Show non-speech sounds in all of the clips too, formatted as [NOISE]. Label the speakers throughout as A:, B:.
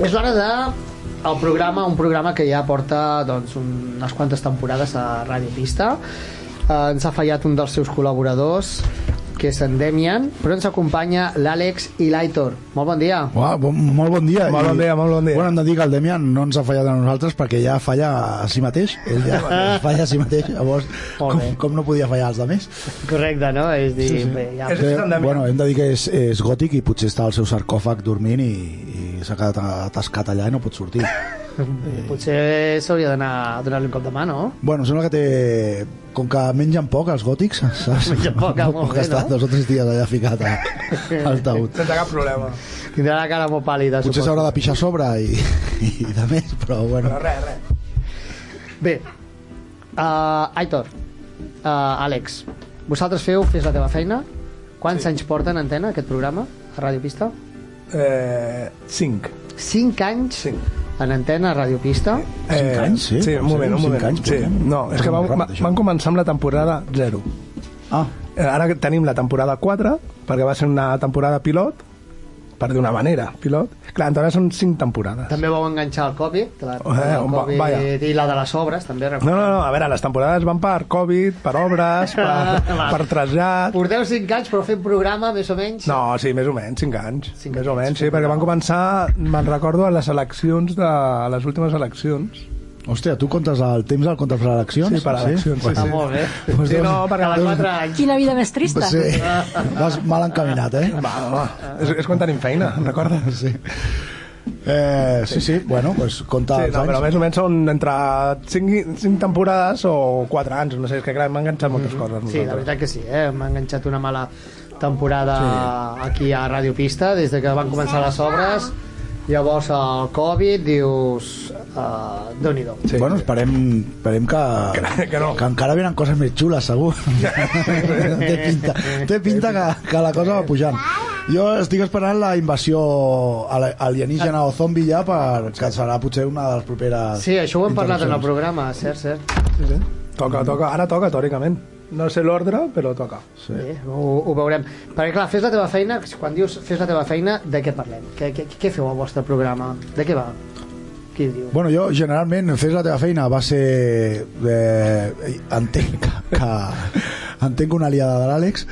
A: És l'hora de el programa, un programa que ja porta doncs, unes quantes temporades a Radio Pista. Eh, ens ha fallat un dels seus col·laboradors, que és en Demian, però ens acompanya l'Àlex i l'Aitor. Molt bon dia.
B: Uah, bon, molt bon dia.
C: Molt bon dia, molt bon dia.
B: Bueno, hem de dir que el Demian no ens ha fallat a nosaltres perquè ja falla a si mateix. Ell ja falla a si mateix. Llavors,
A: Molt
B: com,
A: bé.
B: com no podia fallar als altres? Eh,
A: Correcte, no? És dir, sí, sí. Bé, ja...
C: És- Està en Demian.
B: bueno, hem de dir que és, és gòtic i potser està al seu sarcòfag dormint i, i s'ha quedat atascat allà i no pot
C: [LAUGHS]
B: sortir.
A: potser s'hauria d'anar a donar-li un cop de mà, no?
B: Bueno, sembla que té... Com que mengen poc els gòtics, saps?
A: Mengen poc,
B: no,
A: molt
B: pot
A: bé,
B: estar
A: no?
B: dos o tres dies allà ficat a, al
C: [LAUGHS]
B: taüt.
C: Sense cap problema.
A: Tindrà la cara molt pàl·lida,
B: Potser s'haurà de pixar a sobre i, [LAUGHS] i de més, però bueno.
C: Però res, res.
A: Bé, uh, Aitor, uh, Àlex, vosaltres feu Fes la teva feina. Quants sí. anys porta en antena aquest programa a Ràdio Pista?
C: Eh, cinc.
A: 5 anys
C: Cinc.
A: en antena a Ràdio Pista.
B: Cinc anys, sí?
C: Eh, Sí, un moment, un
B: Cinc
C: moment.
B: anys,
C: sí.
B: portem?
C: No, és que vam,
B: Ràpid,
C: va-
B: això.
C: vam començar amb la temporada 0.
B: Ah,
C: Eh, Ara que tenim la temporada 4, perquè va ser una temporada pilot, per d'una manera, pilot. Clar, en teoria són 5 temporades.
A: També vau enganxar el Covid, de la,
C: Eh,
A: del
C: va-
A: COVID
C: vaja.
A: i la de les obres, també.
C: No,
A: recordo.
C: no, no, a veure, les temporades van per Covid, per obres, per,
A: Va.
C: per trasllat...
A: Porteu 5 anys però fent programa, més o menys.
C: No, sí, més o menys, 5 anys.
A: Cinc
C: més o
A: anys,
C: menys, sí,
A: cinc
C: perquè van
A: anys.
C: començar, me'n recordo, a les eleccions de... a les últimes eleccions.
B: hòstia, tu comptes el temps el comptes per eleccions?
C: Sí, per eleccions, sí,
A: Està
C: sí.
A: molt eh? bé.
C: Pues sí, no, perquè
A: Cada 4 anys.
D: Quina vida més trista.
A: eh,
B: Sí, vas mal encaminat, eh?
C: Va, va, va. És, és quan tenim feina, em recordes?
B: Sí. Eh, sí, sí, bueno, pues compta
C: Sí,
B: els
C: no, però
B: anys.
C: més o menys són entre 5, 5 temporades o 4 anys, no sé, és que clar, m'han enganxat moltes coses.
A: Sí, la
C: nosaltres.
A: veritat que sí, eh? M'ha enganxat una mala temporada sí. aquí a Ràdio Pista, des de que van començar les obres, llavors el Covid, dius... Uh, déu nhi
C: Sí.
B: Bueno, esperem, esperem que,
C: Que- que no.
B: que encara venen coses més xules, segur. [LAUGHS] té pinta, té pinta que, que la cosa va pujant. Jo estic esperant la invasió ale- alienígena o zombi ja per, que serà potser una de les properes...
A: Sí, això ho hem parlat en el
B: intervencions.
A: programa, cert, cert.
C: Sí, sí. Toca, toca, ara toca, teòricament. No sé l'ordre, però toca.
A: Sí. Bé, ho, ho veurem. Perquè, clar, fes la teva feina, quan dius fes la teva feina, de què parlem? Què, què, què feu al vostre programa? De què va? Qui diu?
B: Bueno, jo generalment fes la teva feina va ser eh, entenc que, que [LAUGHS] entenc una aliada de l'Àlex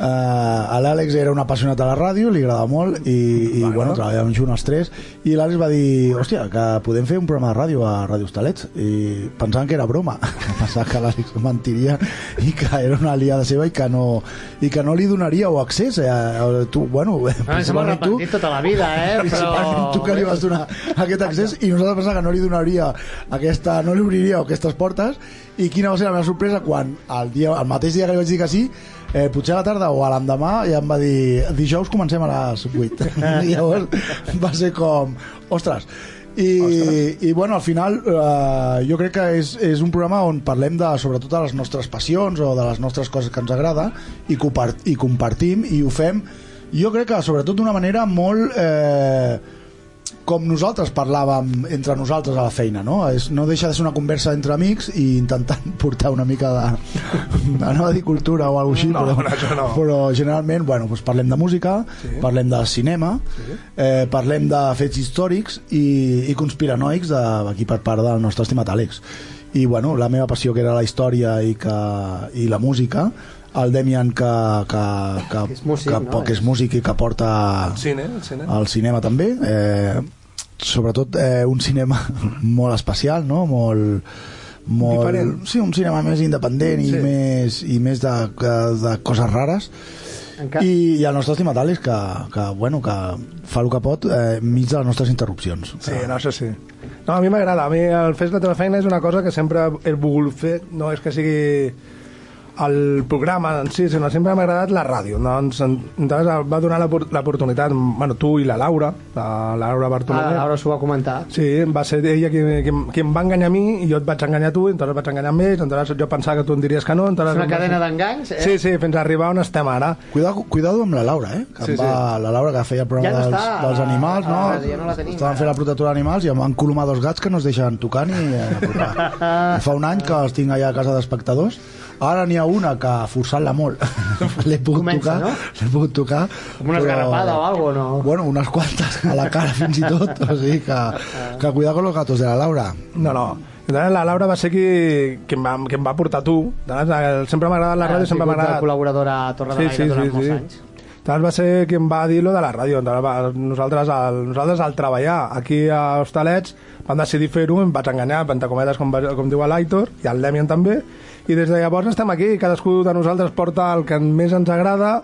B: eh, l'Àlex era un apassionat a la ràdio li agradava molt i, i bueno, treballàvem junts els tres i l'Àlex va dir hòstia, que podem fer un programa de ràdio a Ràdio Hostalets i pensant que era broma [LAUGHS] pensant que l'Àlex mentiria i que era una aliada seva i que no, i que no li donaríeu accés eh, a- tu, bueno,
A: Ah, ens hem
B: principalment tu,
A: arrepentit tota la vida, [LAUGHS] eh?
B: principalment tu que li vas donar aquest accés i nosaltres pensàvem que no li donaria aquesta, no li obriria aquestes portes i quina va ser la meva sorpresa quan el, dia, el mateix dia que li vaig dir que sí eh, potser a la tarda o a l'endemà ja em va dir dijous comencem a les 8 [LAUGHS] i llavors va ser com ostres i, i bueno, al final eh, jo crec que és, és un programa on parlem de sobretot de les nostres passions o de les nostres coses que ens agrada i, compar- i compartim i ho fem jo crec que sobretot d'una manera molt eh, com nosaltres parlàvem entre nosaltres a la feina, no? És, no deixa de ser una conversa entre amics i intentant [LAUGHS] portar una mica de... anava a dir cultura o alguna cosa així,
C: No,
B: però,
C: no, això no.
B: però generalment, bueno, doncs parlem de música, parlem de cinema, eh, parlem de fets històrics i, i conspiranoics de, aquí per part del nostre estimat Àlex. I, bueno, la meva passió que era la història i, que, i la música, el Demian que, que, que,
A: Que és músic,
B: que,
A: no?
B: poc és músic i que porta
C: Cine, el cine.
B: al cinema també eh, sobretot eh, un cinema [LAUGHS] molt especial no? molt, molt
C: Diferent.
B: sí, un cinema més independent
C: Sí.
B: i més, i més de, de, de coses rares
A: Enca... I...
B: i, i el nostre estimat Àlex que, que, bueno, que fa el que pot eh, mig de les nostres interrupcions
C: Sí, no, això sí. No, a mi m'agrada. A mi el Fes la teva feina és una cosa que sempre he volgut fer. No és que sigui el programa en si, sinó sempre m'ha agradat la ràdio. No? Ens, en- entonces em va donar l'opor- l'oportunitat, bueno, tu i la Laura, la Laura
A: Ah,
C: Bartolomé.
A: ara us ho va comentar.
C: Sí, va ser ella qui, qui, em- qui em va enganyar a mi i jo et vaig enganyar a tu, i entonces vaig enganyar a ells, entonces jo pensava que tu em diries que no.
A: És una cadena d'enganys, eh?
C: Sí, sí, fins a arribar on estem ara.
B: Cuidado, cuidado amb la Laura, eh? Que
C: Sí,
B: sí, va, La Laura que feia el
A: Ja
B: programa
A: no
B: dels,
A: està,
B: dels
A: a-
B: animals, no?
A: a- ja no la tenim, eh.
B: Estaven
A: ara.
B: fent la protectora d'animals i em van colomar dos gats
A: [LAUGHS]
B: que no es deixen tocar ni eh, apropar. I fa un any que els tinc allà a casa d'espectadors. Ara n'hi ha tenia una que forçant-la molt [LAUGHS] l'he pogut
A: Comença,
B: tocar,
A: no?
B: l'he pogut tocar
A: Com una esgarrapada o algo, no?
B: Bueno, unes quantes a la cara fins i tot, o sigui que, que cuidar con los gatos de la Laura.
C: No, no. Llavors, la Laura va ser qui, qui, em, va, qui em va portar tu. Llavors, eh, Sempre m'ha agradat la
A: Ah,
C: ràdio, sempre m'ha
A: Ara,
C: agradat...
A: col·laboradora a Torre de
C: Sí,
A: l'Aire
C: sí,
A: durant
C: sí,
A: molts
C: sí. [LAUGHS]
A: anys.
C: Llavors va ser qui em va dir lo de la ràdio. Llavors va- Nosaltres al, nosaltres al treballar aquí a Hostalets vam decidir fer-ho, em vaig enganyar, entre cometes, com, va- com diu l'Aitor, i el Demian també, i des de llavors estem aquí, cadascú de nosaltres porta el que més ens agrada,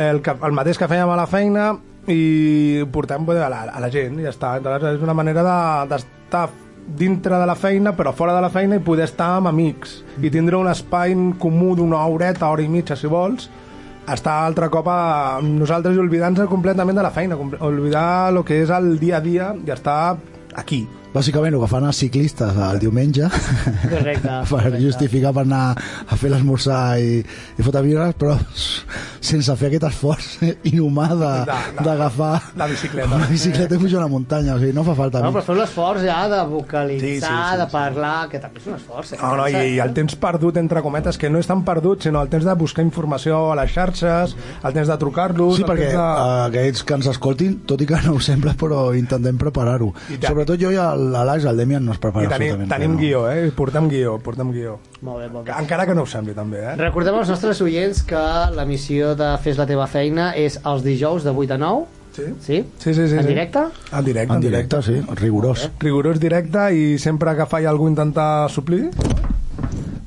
C: el, que, el mateix que fèiem a la feina, i portem bueno, a la, a la gent, i ja està. Llavors és una manera de- d'estar dintre de la feina, però fora de la feina, i poder estar amb amics, i tindre un espai en comú d'una horeta, hora i mitja, si vols, estar altre cop a nosaltres i oblidar-nos completament de la feina, comple- oblidar el que és el dia a dia i estar aquí.
B: Bàsicament el que fan els ciclistes el diumenge
C: [LAUGHS]
A: Correcte,
B: per
A: correcte.
B: justificar per anar a fer l'esmorzar i, i fotre birres, però sense fer aquest esforç [LAUGHS] inhumà de-
C: de-
B: d'agafar
C: la bicicleta.
B: la bicicleta i pujar una muntanya, o sigui, no fa falta.
A: No,
B: amics.
A: però feu l'esforç ja de vocalitzar,
C: Sí, sí, sí, sí.
A: de parlar, que també és un esforç. Eh?
C: No, no, i, I el temps perdut, entre cometes, que no és tan perdut, sinó el temps de buscar informació a les xarxes, el temps de trucar-los...
B: Sí,
C: el
B: perquè
C: temps de...
B: eh, aquells que ens escoltin, tot i que no ho sembla, però intentem preparar-ho.
C: I tant.
B: Sobretot jo i el- l'Àlex, el Demian, no es
C: I
B: prepara
C: tenim,
B: absolutament.
C: tenim
B: no.
C: guió, eh? Portem guió, portem guió.
A: Molt bé, molt bé.
C: Encara que no ho sembli, també, eh?
A: Recordem als nostres oients que la missió de Fes la teva feina és els dijous de 8 a 9,
C: Sí?
A: sí?
C: Sí, sí, sí.
A: En
C: sí.
A: directe?
C: En directe,
B: En directe, sí, rigorós.
C: Rigorós directe i sempre que falla algú intentar suplir...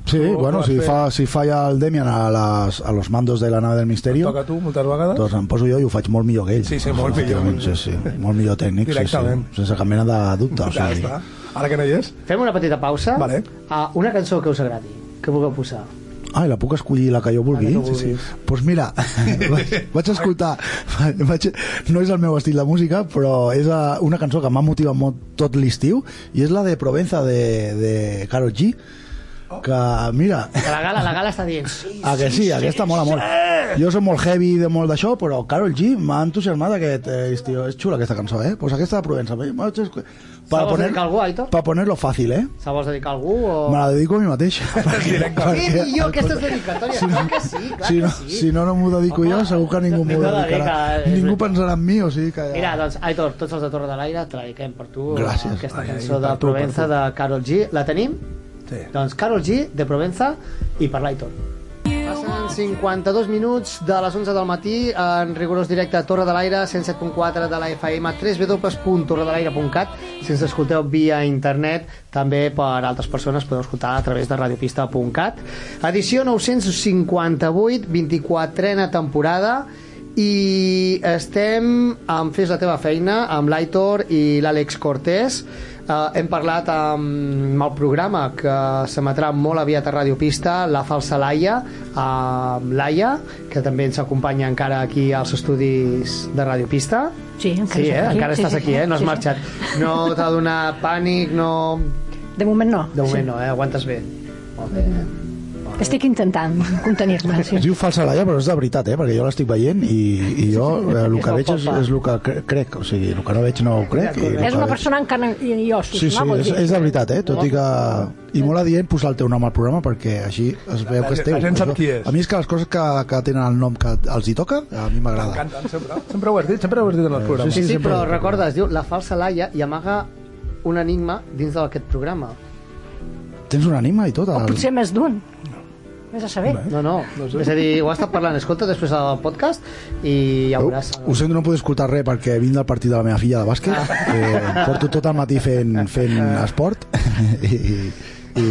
B: Sí,
C: Oh,
B: bueno,
C: vas
B: si,
C: fer.
B: fa, si falla el Demian a, les, a los mandos de la nave del misterio,
C: Toca tu moltes vegades.
B: doncs em poso jo i ho faig molt millor que ell.
C: Sí, sí, molt millor.
B: Efectivament, Sí, sí, molt millor tècnic, sí, sí,
C: Directament.
B: sense cap mena de dubte. O
C: Ja
B: sigui.
C: està. Ara que no hi és.
A: Fem una petita pausa
C: Vale.
A: a una cançó que us agradi, que vulgueu posar.
B: Ah, i la puc escollir la que jo vulgui?
A: La que tu
B: sí,
A: vulguis.
B: sí. Pues mira,
C: [LAUGHS]
B: vaig, vaig escoltar... Vaig, no és el meu estil de música, però és eh, una cançó que m'ha motivat molt tot l'estiu i és la de Provenza de, de Karol G, que, mira...
A: Que la gala, la gala està dient... Sí,
B: Ah, que sí, aquesta mola molt. Jo soc molt heavy de molt d'això, però Carol G m'ha entusiasmat aquest eh, estiu. És xula aquesta cançó, eh? Pues aquesta de Provença. eh? Vaig escu-
A: vols
B: Para poner,
A: dedicar a algú, Aitor?
B: para ponerlo fàcil, eh?
A: Se vols dedicar a algú o...?
B: Me la dedico a mi mateix. Perquè,
A: Què
B: perquè-
A: millor aquestes dedicatòries?
B: Si no-
A: clar que sí, clar
B: si
A: que
B: no,
A: sí.
B: si no, no m'ho dedico
A: Home,
B: jo, segur que ningú m'ho
A: ningú la
B: dedicarà.
A: dedica, és
B: Ningú
A: veritat.
B: pensarà en mi, o sigui que...
A: Mira, doncs, Aitor, tots els de Torre de l'Aire te la dediquem per tu
B: Gràcies.
A: aquesta
C: Ai, ai,
A: cançó de
C: per tu, per
A: Provenza
C: tu.
A: de Carol G. La tenim?
C: Sí.
A: Doncs Carol G, de Provenza, i per l'Aitor. Passen 52 minuts de les 11 del matí en rigorós directe a Torre de l'Aire, 107.4 de la FM, www.torredelaire.cat. Si ens escolteu via internet, també per altres persones podeu escoltar a través de radiopista.cat. Edició 958, 24a temporada, i estem amb Fes la teva feina, amb l'Aitor i l'Àlex Cortés. Uh, hem parlat amb el programa que s'emetrà molt aviat a Radio Pista, La Falsa Laia, amb Laia, que també ens acompanya encara aquí als estudis de Radio Pista.
D: Sí, encara
A: Sí,
D: sóc
A: eh?
D: aquí.
A: encara
D: Sí,
A: estàs
D: sí,
A: aquí,
D: sí.
A: eh? no has
D: Sí, sí.
A: marxat. No t'ha donat pànic, no...
D: De moment no.
A: De moment no, eh? aguantes bé. Molt bé.
D: Estic intentant contenir-me. Sí.
B: Es diu falsa laia, però és de veritat, eh? Perquè jo l'estic veient i, i jo eh, el que
A: És
B: veig és,
A: molt
B: és el que cre- crec, o sigui, el que no veig no ho crec. I el
D: És
B: que
D: una
B: veig-
D: persona encara encanyosos,
B: Sí, sí,
D: no? Vull
B: és,
D: dir.
B: és de veritat, eh? Tot i que... I molt adient posar el teu nom al programa perquè així es veu
C: la
B: que és
C: gent-
B: teu.
C: la gent sap
B: Jo-
C: qui és.
B: A mi és que les coses que, que tenen el nom que els hi toca, a mi m'agrada.
C: Canten sempre. Sempre ho has dit, sempre ho has dit en els programes.
A: Sí, sí,
B: sempre
A: però
B: ho recordo.
A: recorda, es diu La Falsa Laia i amaga un enigma dins d'aquest programa.
B: Tens un ànima i tot.
D: O
B: El...
D: potser més d'un. Vés a saber.
A: No, no, és a dir, ho ha estat parlant, escolta després del podcast i ja
C: Oh,
B: Ho,
A: veuràs.
B: ho sento, no puc escoltar res perquè vinc del partit de la meva filla de bàsquet.
A: Ah.
B: Eh, porto tot el matí fent, fent esport i, i,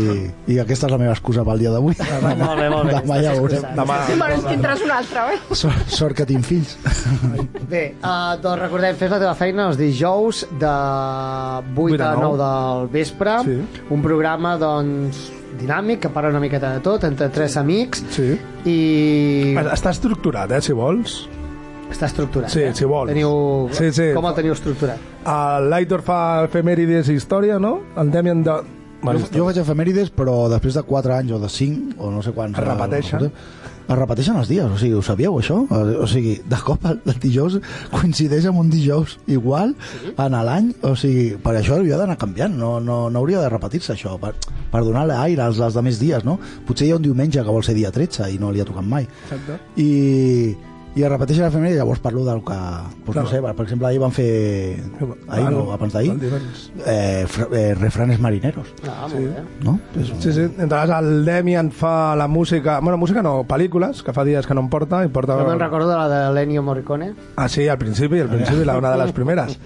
B: i aquesta és la meva excusa pel dia d'avui.
A: Molt bé, molt bé.
B: Demà ja
A: estàs
B: ho veurem.
A: excusat.
C: Demà.
D: Sí, però en tindràs un altre, oi?
B: Sort, sort que tinc fills.
A: Bé, uh, doncs recordem, fes la teva feina els dijous de 8,
C: Vuit
A: a
C: a
A: 9
C: nou
A: del vespre.
C: Sí.
A: Un programa, doncs, dinàmic, que parla una miqueta de tot, entre tres amics.
C: Sí.
A: I
C: Està estructurat, eh, si vols.
A: està estructurat.
C: Sí,
A: eh?
C: si vols.
A: Teniu...
C: Sí, sí.
A: Com el teniu estructurat?
C: El L'Aitor fa efemèrides i història, no? El Demian de...
B: Jo,
C: Bueno,
B: jo faig efemèrides, però després de 4 anys o de 5, o no sé quants...
C: Es repeteixen.
B: Es repeteixen els dies, o sigui, ho sabíeu, això? O sigui, de cop el, el dijous coincideix amb un dijous igual en l'any, o sigui, per això hauria d'anar canviant, no, no, no hauria de repetir-se això. Per, per donar l'aire als, als altres dies, no? Potser hi ha un diumenge que vol ser dia 13 i no li ha tocat mai.
C: Exacte.
B: I, i es repeteix la femella i llavors parlo del que... Doncs
C: Claro. Ah,
B: no sé, per exemple, ahir van fer... Ahir no, abans d'ahir. Eh, fra- eh, refranes marineros,
A: Ah, molt bé.
B: no? És,
C: Sí, sí. Entonces el Demian fa la música... Bueno, música no, pel·lícules, que fa dies que no en porta. I porta...
A: Jo me'n recordo de la de l'Ennio Morricone.
C: Ah, sí, al principi, al principi, la, una de les primeres.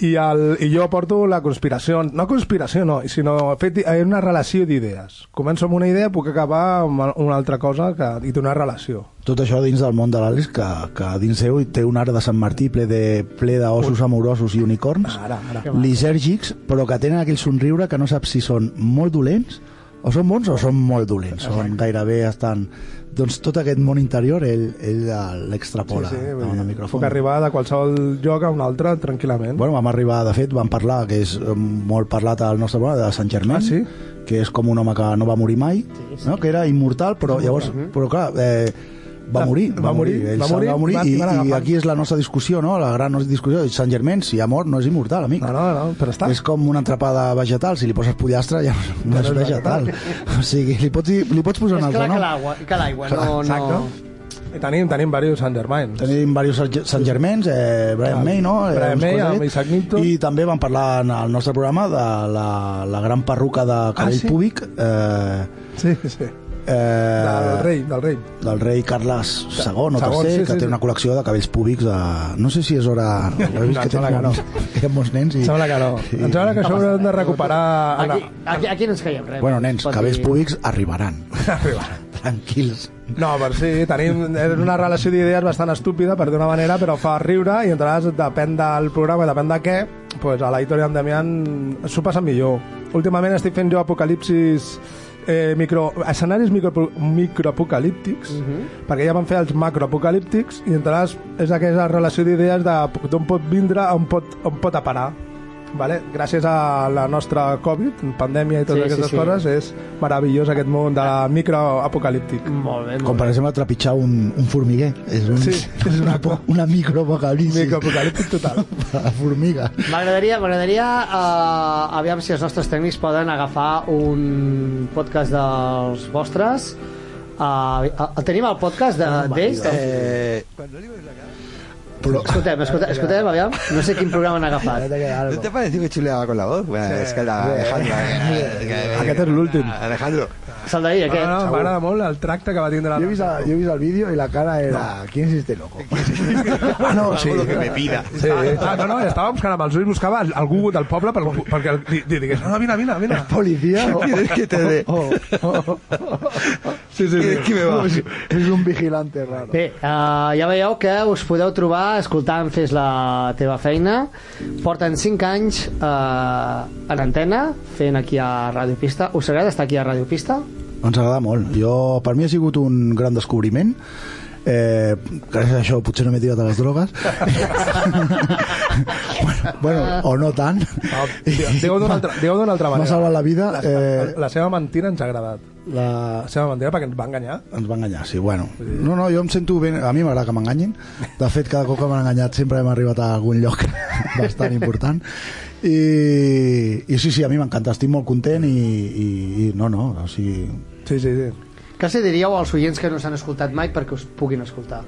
C: I, el, I jo porto la conspiració, no conspiració, no, sinó fet, eh, una relació d'idees. Començo amb una idea, puc acabar amb una altra cosa que, i té una relació.
B: tot això dins del món de l'Àlex, que, que dins seu té un arc de Sant Martí ple de ple d'ossos amorosos i unicorns,
C: Ara, ara.
B: lisèrgics, però que tenen aquell somriure que no saps si són molt dolents, o són bons o són molt dolents, són gairebé estan... Doncs tot aquest món interior ell ell, eh, l'extrapola sí, sí,
C: vull
B: davant
C: dir,
B: del micròfon.
C: Puc arribar de qualsevol lloc a un altre tranquil·lament.
B: Bueno, vam arribar, de fet, vam parlar, que és eh, molt parlat al nostre programa, de Sant Germain,
C: Ah, sí?
B: que és com un home que no va morir mai,
A: Sí,
B: no? que era immortal, però llavors, però clar, eh, va
C: uh-huh. Va-
B: morir,
C: va morir,
B: ell
C: va
B: se'n
C: morir,
B: va morir
C: va-
B: i,
C: i van
B: i
C: agafant.
B: aquí és la nostra discussió, no? la gran nostra discussió, Sant Germain, si ha mort, no és immortal, amic.
C: No, no, no, però està.
B: És com una entrapada vegetal, si li poses pollastre ja no,
C: Ja
B: és
C: no és
B: vegetal. [LAUGHS] O sigui, li pots, dir- li pots posar
A: És
B: un altre
A: clar que
B: nom.
A: l'aigua, que l'aigua no, no...
C: I tenim, tenim diversos Sant Germains.
B: Tenim diversos Sant Germans, eh, Brian May, no? Eh,
C: Brian
B: uns
C: May,
B: cosets.
C: amb Isaac Newton.
B: I també vam parlar en el nostre programa de la, la gran perruca de cabell
C: Ah, sí?
B: púbic. Eh,
C: Sí, sí.
B: eh,
C: Del rei, del rei.
B: del rei Carles II o III,
C: Segon, sí,
B: que
C: sí,
B: té
C: sí.
B: una col·lecció de cabells púbics de... No sé si és
C: [LAUGHS]
B: hora... He vist
C: No,
B: que,
C: em sembla
B: tens
C: que no.
B: molts, que hi ha molts nens i...
C: Em sembla que no.
B: Sí.
C: Em sembla que això haurem de recuperar...
A: Aquí, aquí, aquí no ens caiem res.
B: Bueno, nens,
A: Pot
B: cabells
A: dir-
B: púbics
C: [LAUGHS]
B: arribaran.
C: Arribarà.
B: Tranquils.
C: No, però sí, tenim és una relació d'idees bastant estúpida, per d'una manera, però fa riure i entonces, depèn del programa, depèn de què, pues, a l'Aitor i en Damián s'ho passen millor. Últimament estic fent jo apocalipsis eh, micro, escenaris micro, microapocalíptics,
A: Mhm.
C: perquè ja van fer els macroapocalíptics, i entonces és aquella relació d'idees de d'on pot vindre, on pot, on pot aparar. Vale? Gràcies a la nostra Covid, pandèmia i totes
A: Sí, sí,
C: aquestes
A: sí.
C: coses, és meravellós aquest món de microapocalíptic.
A: Molt bé,
B: Com
A: molt bé.
B: per exemple trepitjar un, un formiguer. És, un,
C: Sí,
B: [LAUGHS] és una, una microapocalipsi.
C: Microapocalíptic total.
B: per [LAUGHS] la formiga.
A: M'agradaria, m'agradaria, uh, aviam si els nostres tècnics poden agafar un podcast dels vostres. Uh, uh, tenim el podcast de- d'ells? De,
B: Eh, però,
A: Escoltem, escoltem, escoltem, aviam. No sé quin programa han agafat.
E: ¿No te ha parecido que chuleaba con la voz? Bueno, es que la Alejandro.
C: Aquest és l'últim.
E: Alejandro.
A: Se'l deia,
C: No,
A: aquest.
C: no, m'agrada molt el tracte que va tindre la...
B: Yo he, visto, yo he visto el vídeo y la cara era ¿Quién es este loco? ah, no, sí.
E: Lo que me [LAUGHS] pida.
C: Sí. Ah, no, no, estava buscant amb els ulls, buscava algú del poble per, perquè li, li digués, no, no, vine, vine, vine. [LAUGHS]
B: ¿Policía? Oh, o-
E: ¿Quieres que te dé?
B: oh.
C: Sí, sí,
E: ¿Quieres que
C: sí.
E: me va?
B: es un vigilante raro.
A: Bé, uh, ja veieu que us podeu trobar escoltant Fes la teva feina. Porten 5 anys uh, en antena, fent aquí a Radio Pista. Us agrada estar aquí a Radio Pista?
B: Ens agrada molt. Jo, per mi ha sigut un gran descobriment. Eh, gràcies a això potser no m'he tirat a les drogues. [LAUGHS] bueno, bueno, o no tant.
C: Ah, [LAUGHS] Digueu d'una altra, digueu d'una altra
B: M'ha
C: manera.
B: salvat la vida.
C: La,
B: Eh,
C: la, seva mentida ens ha agradat.
B: la,
C: La seva mentida perquè ens va enganyar.
B: ens va enganyar, sí, bueno. No, no, jo em sento ben... A mi m'agrada que m'enganyin. De fet, cada cop que m'han enganyat sempre hem arribat a algun lloc [LAUGHS] bastant important. I, i sí, sí, a mi m'encanta, estic molt content i, i, i no, no, o sigui...
C: Sí, sí, sí.
A: Què els diríeu als oients que no s'han escoltat mai perquè us puguin escoltar?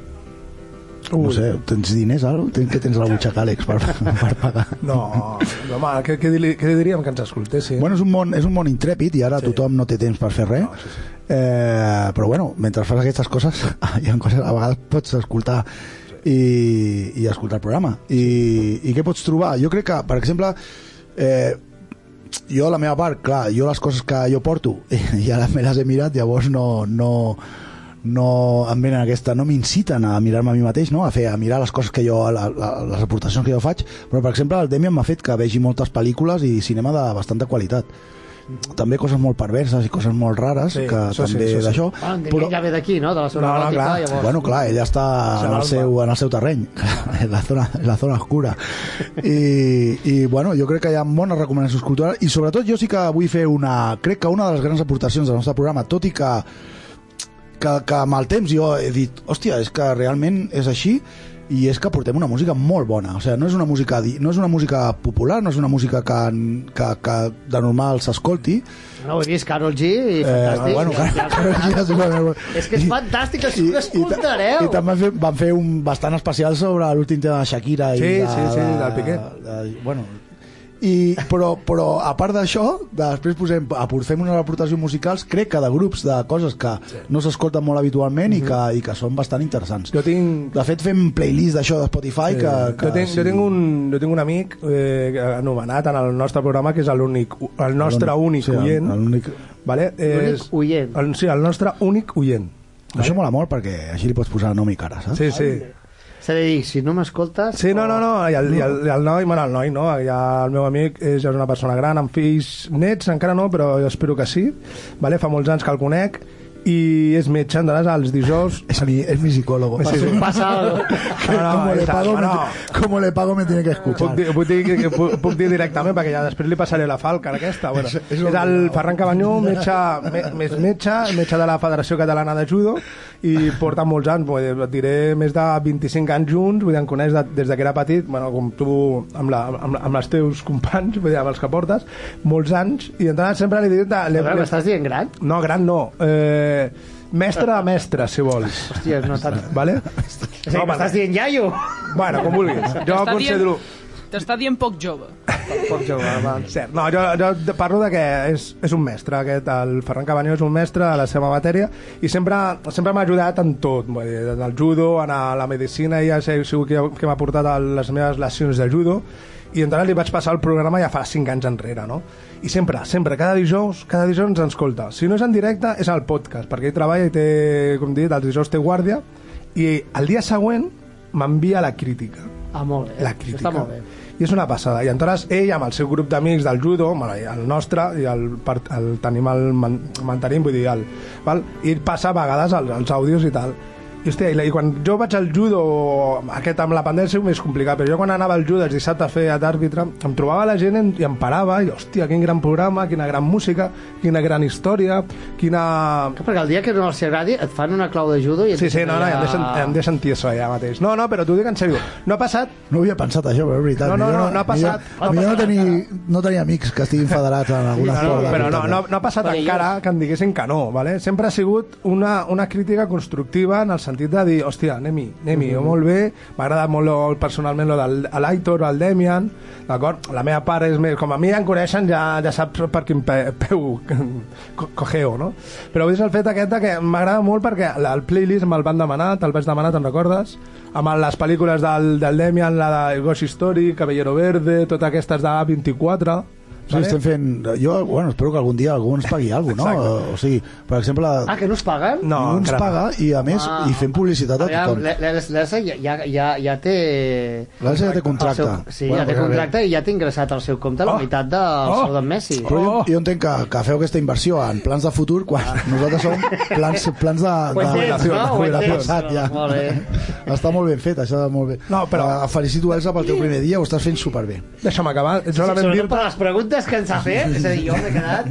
B: No sé, tens diners, ara? Tens, que tens a la butxaca, Àlex, per, [LAUGHS] per pagar?
C: No, home, què, què, dili- què diríem que ens escoltessin?
B: Bueno, és un món, és un món intrèpid i ara sí. tothom no té temps per fer res. No, sí, sí. Eh, però bueno, mentre fas aquestes coses, [LAUGHS] hi ha coses, a vegades pots escoltar i, i escoltar el programa. I, I què pots trobar? Jo crec que, per exemple, eh, jo a la meva part, clar, jo les coses que jo porto [LAUGHS] ja me les he mirat, llavors no, no, no em venen aquesta, no m'inciten a mirar-me a mi mateix, no? a fer a mirar les coses que jo, la, la, les aportacions que jo faig, però per exemple el Demian m'ha fet que vegi moltes pel·lícules i cinema de bastanta qualitat. També coses molt perverses i coses molt rares sí,
C: Mm. Sí,
B: que
C: això sí,
B: també
C: això sí.
B: d'això,
A: Bueno, Ah, en Daniel
B: però,
A: ja ve d'aquí, no? De la zona
C: No, no,
A: gòtica,
C: clar.
A: llavors...
B: Bueno, clar, ella està
C: Se
B: en el
C: l'alba.
B: seu, en el seu terreny, en la zona, en la zona oscura. I, I, bueno, jo crec que hi ha bones recomanacions culturals i sobretot jo sí que vull fer una... Crec que una de les grans aportacions del nostre programa, tot i que que, que amb el temps jo he dit, hòstia, és que realment és així i és que portem una música molt bona, o sigui, no és una música, di- no és una música popular, no és una música que, que, que de normal s'escolti.
A: No, ho he vist, Carol G, i
B: Eh,
A: fantàstic.
B: bueno, clar, clar, ja sé com
A: És que és fantàstic, així ho
B: I,
A: escoltareu.
B: i també van fer, van fer un bastant especial sobre l'últim tema de Shakira i
C: Sí,
B: de,
C: sí, sí,
B: de,
C: del Piqué.
B: de- bueno, i, però, però a part d'això després posem, aportem unes aportacions musicals crec que de grups, de coses que no s'escolten molt habitualment i, que, i que són bastant interessants
C: Mhm. Jo tinc... eh,
B: de fet fem playlist d'això de Spotify que, que
C: jo, tinc,
B: sí.
C: jo, tinc un, jo tinc un amic eh, anomenat en el nostre programa que és l'únic, el nostre únic
B: sí, el-
C: oient
B: l'únic-
C: vale?
A: L'únic oient.
C: El, sí, el nostre únic oient
B: això mola molt perquè així li pots posar nom i cara saps?
C: sí, sí.
A: S'ha de dir, si no m'escoltes...
C: Sí, no, no, no, i el, i el, i el noi, bueno, el noi, no, ja el meu amic és, ja és una persona gran, amb fills nets, encara no, però jo espero que sí, vale? fa molts anys que el conec, i és metge, entonces, els
A: [COUGHS]
C: dijous...
B: és, mi, és mi psicòlogo
C: Sí,
B: [LAUGHS]
C: sí.
A: Passa...
B: Que como, le
C: és-
B: pago, me-
C: bueno,
B: como le pago me tiene que
C: Puc
B: escuchar
C: dir, puc, dir, que, que puc, puc dir directament perquè ja després li passaré la falca aquesta bueno, és, el Ferran Cabanyó metge, me, més metge, metge de la Federació Catalana de Judo i porta molts anys vull dir, diré més de 25 anys junts vull dir, em coneix de, des de que era petit bueno, com tu amb, la, amb, la- amb els teus companys vull dir, amb els que portes molts anys i entonces sempre li dic de, li,
A: Però
C: li,
A: m'estàs dient gran?
C: no, gran no eh, mestre de mestre si vols
A: Hòstia, no tant.
C: vale?
A: És a dir, m'estàs dient iaio?
C: bueno, com vulguis jo
F: T'està
C: considero
F: dient- T'està dient poc jove.
A: Poc jove, abans.
C: Doncs Cert, no, jo, jo te parlo de que és, és un mestre aquest, el Ferran Cabanyó és un mestre a la seva matèria i sempre, sempre m'ha ajudat en tot, vull dir, en el judo, en a la medicina, ja sé sigut qui, qui m'ha portat a les meves lesions de judo i entonces li vaig passar el programa ja fa 5 anys enrere, no? I sempre, sempre, cada dijous, cada dijous ens escolta. Si no és en directe, és al podcast, perquè ell treballa i té, com dit, els dijous té guàrdia i el dia següent m'envia la crítica
A: Ah, molt bé.
C: la crítica.
A: Està molt bé.
C: I és una passada. I aleshores ell, amb el seu grup d'amics del judo, bueno, i el nostre, i el, part- el tenim el man, mantenim, vull dir, el, val? i passa a vegades els, els àudios i tal. I, hòstia, i, la- i quan jo vaig al judo, aquest amb la pandèmia és més complicat, però jo quan anava al judo els dissabte a fer d'àrbitre, em trobava la gent i em parava, i hòstia, quin gran programa, quina gran música, quina gran història, quina...
A: Que perquè el dia que no els agradi et fan una clau de judo i et
C: Sí, sí, no, no, ja em
A: Ah.
C: deixen, em deixen tieso allà mateix. No, no, però t'ho dic en sèrio. No ha passat
B: No havia pensat això, però és veritat.
C: No, no,
B: Millor
C: no, no ha passat.
B: Millor, millor no, tenir, no tenir amics que estiguin federats en alguna
C: No, no,
B: cosa.
C: però no, no, no ha passat
F: Perquè jo-
C: encara que em diguessin que no, vale? sempre ha sigut una, una crítica constructiva en el sentit de dir, hòstia, anem-hi, anem-hi, mm -hmm. molt bé, m'ha agradat molt lo, personalment lo del l'Aitor, el Demian, d'acord? La meva part és més, com a mi ja em coneixen, ja, ja saps per quin pe, peu [LAUGHS] co- cogeo, no? Però és el fet aquest de que m'agrada molt perquè la- el playlist me'l van demanar, te'l vaig demanar, te'n recordes? Amb les pel·lícules del, del Demian, la de Ghost Story, Caballero Verde, totes aquestes de 24
B: Sí, estem fent... Jo, bueno, espero que algun dia algú ens pagui alguna cosa, no?
C: Exacte.
B: O sigui, per exemple,
A: Ah, que no us paguen?
C: No,
B: ningú ens
C: encara no.
B: paga i, a més,
A: Ah.
B: i fem publicitat a tothom.
A: L'ESA ja, ja, ja, ja té...
B: L'Elsa ja té contracte.
A: El Seu, sí, bueno,
B: Bueno,
A: ja té
B: pues,
A: contracte i ja té ingressat al seu compte la
C: Oh.
A: meitat del
C: Oh.
A: sou d'en Messi.
B: Però jo,
C: Oh! Ah.
B: jo entenc que, que feu aquesta inversió en plans de futur quan nosaltres som plans, plans de...
A: Ho
B: de,
A: entens, no? Ho
B: de- de-
A: entens.
B: passat, ja.
A: Molt bé.
B: Està molt ben fet, això molt bé.
C: No, però-
B: Eh, felicito, Elsa, pel teu primer dia, ho estàs fent superbé.
C: Deixa'm acabar, solament
A: Sobretot
C: dir-te...
A: per les preguntes que ens ha fet, és a dir, jo m'he quedat...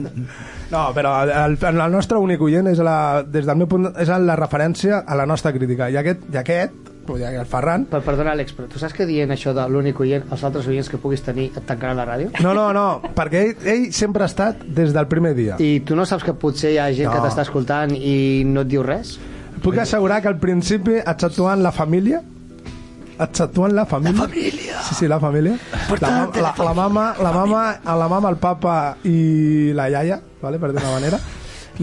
C: No, però el, el, el nostre únic oient és la, des del meu punt, és la referència a la nostra crítica. I aquest, i aquest vull dir, el Ferran,
A: Per, perdona, Àlex, però tu saps que dient això de l'únic oient, els altres oients que puguis tenir et tancaran la ràdio?
C: no, no, no, perquè ell, ell sempre ha estat des del primer dia. I...
A: I tu no saps que potser hi ha gent que
C: No.
A: t'està escoltant i no et diu res?
C: Puc assegurar que al principi, exceptuant la família, exceptuant la família... La família! Sí, sí, la família. La, ma- la, la, mama, la, mama, a la mama, el papa i la iaia, vale, per d'una manera,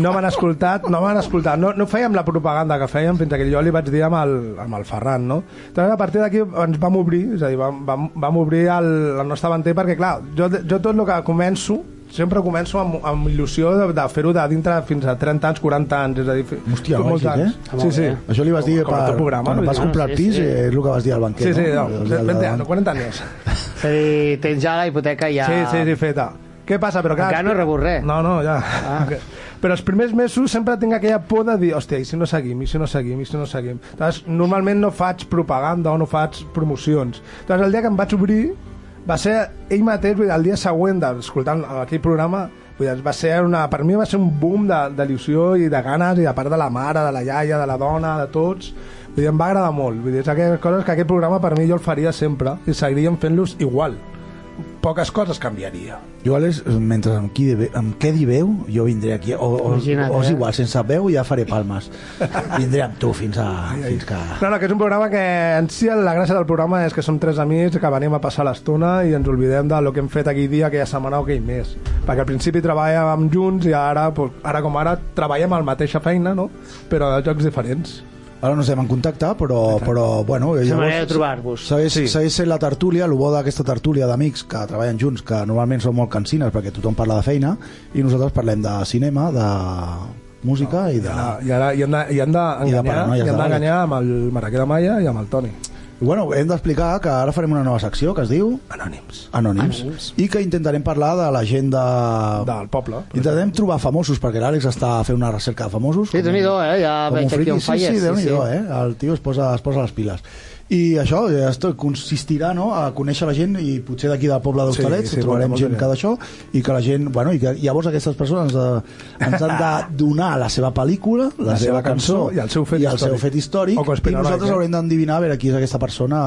C: no m'han escoltat, no m'han escoltat. No, no fèiem la propaganda que fèiem fins que jo li vaig dir amb el, amb el Ferran, no? Llavors, a partir d'aquí ens vam obrir, és a dir, vam, vam, vam obrir el, el nostre ventell, perquè, clar, jo, jo tot el que començo, sempre començo amb, amb il·lusió de, de fer-ho de dintre fins a 30 anys, 40 anys, és a dir, fi-
B: Hòstia,
C: molts
B: vagis,
C: anys.
B: eh?
C: Sí, sí.
B: Això li vas dir
C: Com a
B: per,
C: tot programa,
B: quan
C: vull
B: vas
C: dir,
B: comprar
A: sí,
B: pis,
A: sí.
B: eh, és el que vas dir al banquer.
C: Sí, sí, no,
B: El del
C: 20
B: davant.
C: anys, 40 anys.
A: És a dir, tens ja la hipoteca ja...
C: Sí, sí, sí, feta. Què passa? Però clar,
A: Encara no he rebut res.
C: No, no, ja. Ah. Però els primers mesos sempre tinc aquella por de dir, hòstia, i si no seguim, i si no seguim, i si no seguim. Llavors, normalment no faig propaganda o no faig promocions. Llavors, el dia que em vaig obrir va ser ell mateix, vull dir, el dia següent d'escoltar aquell programa, Vull dir, va ser una, per mi va ser un boom de- d'il·lusió i de ganes, i a part de la mare, de la iaia, de la dona, de tots. Vull dir, em va agradar molt. Vull dir, és aquelles coses que aquest programa per mi jo el faria sempre i seguiríem fent-los igual. Poques coses canviaria.
B: Jo, Àlex, mentre amb, qui de, amb què di veu, jo vindré aquí. O, o,
A: Imagina't,
B: o és
A: eh?
B: igual, sense veu ja faré palmes. Vindré amb tu fins a... Fins que...
C: No, no, que és un programa que en si la gràcia del programa és que som tres amics que venim a passar l'estona i ens olvidem de lo que hem fet aquell dia, aquella setmana o aquell mes. Perquè al principi treballàvem junts i ara, pues, ara com ara, treballem a la mateixa feina, no? Però a jocs diferents.
B: Ara no estem en contacte, però, però bueno...
A: la
B: eh, llavors-
A: manera de trobar-vos.
B: Segueix, sí. segueix sent la tertúlia, el bo d'aquesta tertúlia d'amics que treballen junts, que normalment són molt cansines perquè tothom parla de feina, i nosaltres parlem de cinema, de música i de...
C: Ah, I ara hi hem de- hi hem
B: I de
C: d'enganyar
B: paranoies
C: de,
B: de
C: d'enganyar amb el Maraquer de Maia i amb el Toni.
B: I bueno, hem d'explicar que ara farem una nova secció que es diu
C: Anònims.
B: Anònims, Anònims. i que intentarem parlar de la gent de...
C: Del poble.
B: Intentarem trobar famosos, perquè l'Àlex està fent una recerca de famosos.
A: Sí,
B: com-
A: déu-n'hi-do, eh? Ja
B: com
A: veig
B: un
A: aquí
B: friki.
A: on
B: Sí,
A: falles.
B: sí, déu nhi eh? El tio es posa, es posa les piles. I això eh, esto consistirà no, a conèixer la gent i potser d'aquí del poble d'Hostalets
C: Sí,
B: sí,
C: sí,
B: sí, trobarem
C: molta,
B: gent
C: molta
B: que d'això i que la gent, bueno, i que llavors aquestes persones eh, ens han de donar la seva pel·lícula, la,
C: La seva
B: seva cançó,
C: cançó i el seu
B: i
C: fet
B: el
C: històric.
B: seu fet històric
C: O
B: i
C: conspiranoic,
B: nosaltres
C: eh?
B: haurem d'endevinar a veure qui és aquesta persona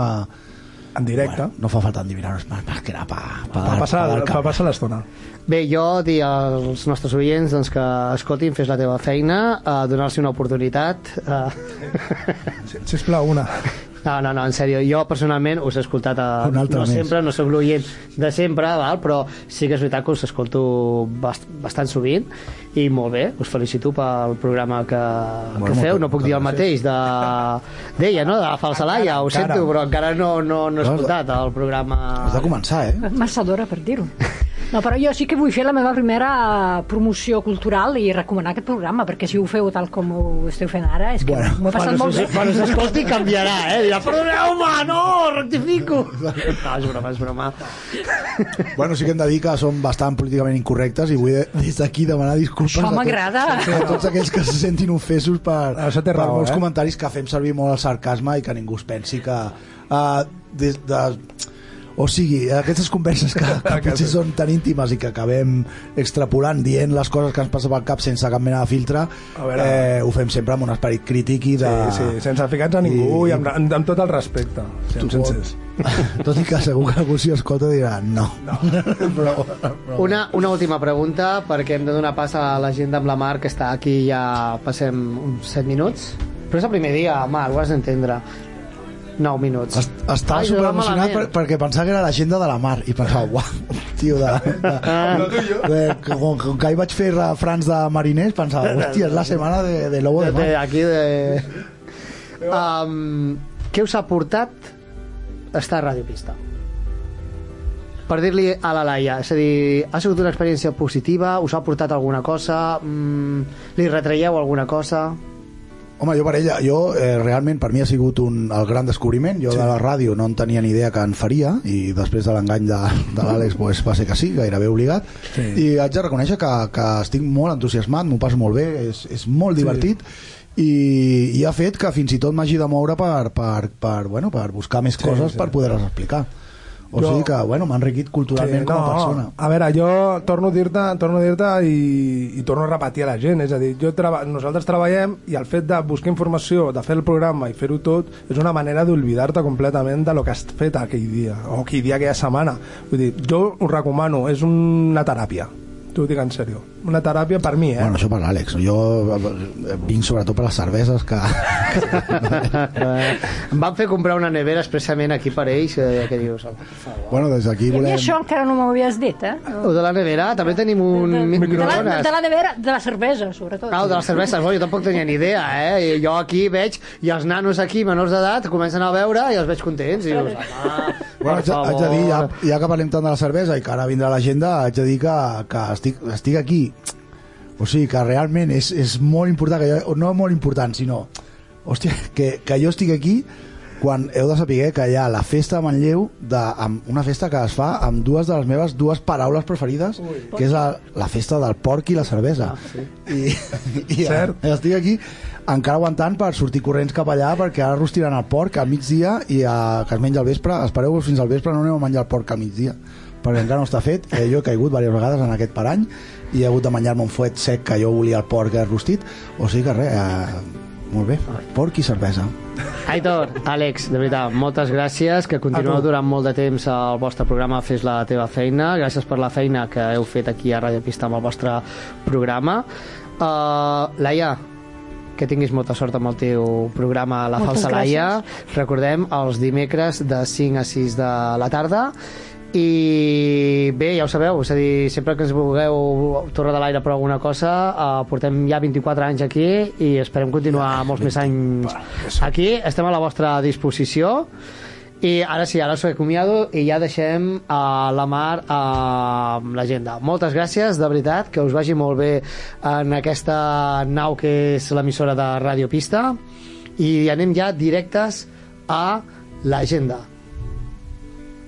C: En directe.
B: Bueno, no fa falta endevinar, és més, més que anar pa, pa,
C: Bueno,
B: pa,
C: per
B: pa,
C: passar,
B: dar
C: per
B: cap.
C: passar l'estona.
A: Bé, jo dir als nostres oients doncs, que escoltin, fes la teva feina, eh, donar-se una oportunitat. Eh... [LAUGHS]
C: Si- Sisplau, una.
A: No, no, no, en sèrio, jo personalment us he escoltat a...
B: Un altre
A: no
B: més.
A: sempre, no sóc l'oient de sempre, val? però sí que és veritat que us escolto bast bastant sovint i molt bé, us felicito pel programa que,
B: Bueno,
A: que feu,
B: moltes-
A: no puc dir el mateix de... d'ella, no? De la falsa Laia, ho
C: encara.
A: sento, però encara no, no, no he
B: Has de-
A: escoltat el
B: Has de
A: programa...
B: començar, eh?
D: Massa d'hora per dir-ho. No, però jo sí que vull fer la meva primera promoció cultural i recomanar aquest programa, perquè si ho feu tal com ho esteu fent ara, és que
B: Bueno,
D: m'ho he passat
A: Quan
D: molt
A: us,
D: bé.
A: quan us escolti canviarà, eh? Dirà, perdoneu-me, no, rectifico. No, és broma, és broma.
B: [LAUGHS] Bueno, sí que hem de dir que són bastant políticament incorrectes i vull de- des d'aquí demanar disculpes
D: Això
B: a tots-
D: m'agrada.
B: a tots aquells que se sentin ofesos [LAUGHS] per,
C: Això té
B: per
C: raó,
B: molts
C: eh?
B: comentaris que fem servir molt el sarcasme i que ningú es pensi que... Uh, des de, o sigui, aquestes converses que, [LAUGHS] que potser són tan íntimes i que acabem extrapolant, dient les coses que ens passa pel cap sense cap mena de filtre,
C: A veure.
B: eh, ho fem sempre amb un esperit crític i de...
C: Sí, sí, sense ficar-se a ningú i, amb, amb tot el respecte. Sí, amb sincers.
B: [LAUGHS] Tot i que segur que algú si escolta dirà no. no. però, però...
A: Una, una última pregunta, perquè hem de donar pas a la gent amb la Mar, que està aquí ja passem uns 7 minuts. Però és el primer dia, Mar, ho has d'entendre. 9 minuts.
B: Es- Estava
A: Ai,
B: super
A: va
B: emocionat per,
A: malament.
B: perquè pensava que era l'agenda de la Mar i pensava, uau, tio de... de, de, que com, com que ahir vaig fer refrans de mariners pensava, hòstia, és la setmana de, de Lobo de
A: De, de,
B: Mar
A: aquí de... Um, què us ha portat estar a Radio Pista? Per dir-li a la Laia, és a dir, ha sigut una experiència positiva, us ha portat alguna cosa, mm, li retraieu alguna cosa...
B: home, jo per ella, jo eh, realment per mi ha sigut un, el gran descobriment jo sí. de la ràdio no en tenia ni idea que en faria i després de l'engany de, de l'Àlex pues, va ser que sí, gairebé obligat sí. i haig de reconèixer que, que estic molt entusiasmat, m'ho passo molt bé, és, és molt divertit i, i ha fet que fins i tot m'hagi de moure per, per, per, bueno, per buscar més coses
C: sí.
B: per poder-les explicar o
C: Jo-
B: sigui que, bueno, m'ha enriquit culturalment com a persona
C: A veure, jo torno a dir-te torno a dir-te i, i torno a repetir a la gent, és a dir, jo treba, nosaltres treballem i el fet de buscar informació, de fer el programa i fer-ho tot, és una manera d'oblidar-te completament de lo que has fet aquell dia o aquell dia, aquella setmana. Vull dir, jo ho recomano, és una teràpia. T'ho dic en sèrio. Una teràpia per mi, eh?
B: Bueno, això per l'Àlex. Jo eh, vinc sobretot per les cerveses que... [LAUGHS]
A: Em van fer comprar una nevera expressament aquí per ells, eh, que dius... "Home, per favor".
B: bueno, des d'aquí
D: I a mi
B: volem...
D: això encara no m'ho havies dit, eh?
A: O de la nevera, també tenim un
D: de, de, de, la,
A: microones.
D: de la nevera, de la cervesa, sobretot.
A: Ah, de les cerveses, bo, jo tampoc tenia ni idea, eh? I jo aquí veig, i els nanos aquí, menors d'edat, comencen a veure i els veig contents. I dius, home, per
B: Bueno, haig, haig de dir, ja,
A: favor.
B: ja que parlem tant de la cervesa i que ara vindrà l'agenda, haig de dir que, que estic, estic aquí. O sigui, que realment és, és molt important, que jo, no molt important, sinó... Hòstia, que, que jo estic aquí quan heu de saber que hi ha la festa de Manlleu, de, amb una festa que es fa amb dues de les meves dues paraules preferides, Ui. que és la, la festa del porc i la cervesa. Ah, sí. I, i
C: Cert.
B: estic aquí encara aguantant per sortir corrents cap allà perquè ara rostiran el porc al migdia i a, que es menja al vespre, espereu-vos fins al vespre no aneu a menjar el porc al migdia perquè encara no està fet. Eh, jo he caigut diverses vegades en aquest parany i he hagut de menjar-me un fuet sec que jo volia el porc rostit. O sigui que res, eh, molt bé, porc i cervesa.
A: Aitor, Àlex, de veritat, moltes gràcies, que continueu durant molt de temps al vostre programa Fes la teva feina. Gràcies per la feina que heu fet aquí a Ràdio Pista amb el vostre programa. Uh, Laia, que tinguis molta sort amb el teu programa La
D: Moltes
A: Falsa Laia. Recordem, els dimecres de 5 a 6 de la tarda. I bé, ja ho sabeu, és a dir, sempre que ens vulgueu Torre de l'Aire per alguna cosa, eh, portem ja 24 anys aquí i esperem continuar molts més anys aquí. Estem a la vostra disposició. I ara sí, ara us acomiado i ja deixem a la Mar a l'agenda. Moltes gràcies, de veritat, que us vagi molt bé en aquesta nau que és l'emissora de Radio Pista i anem ja directes a l'agenda.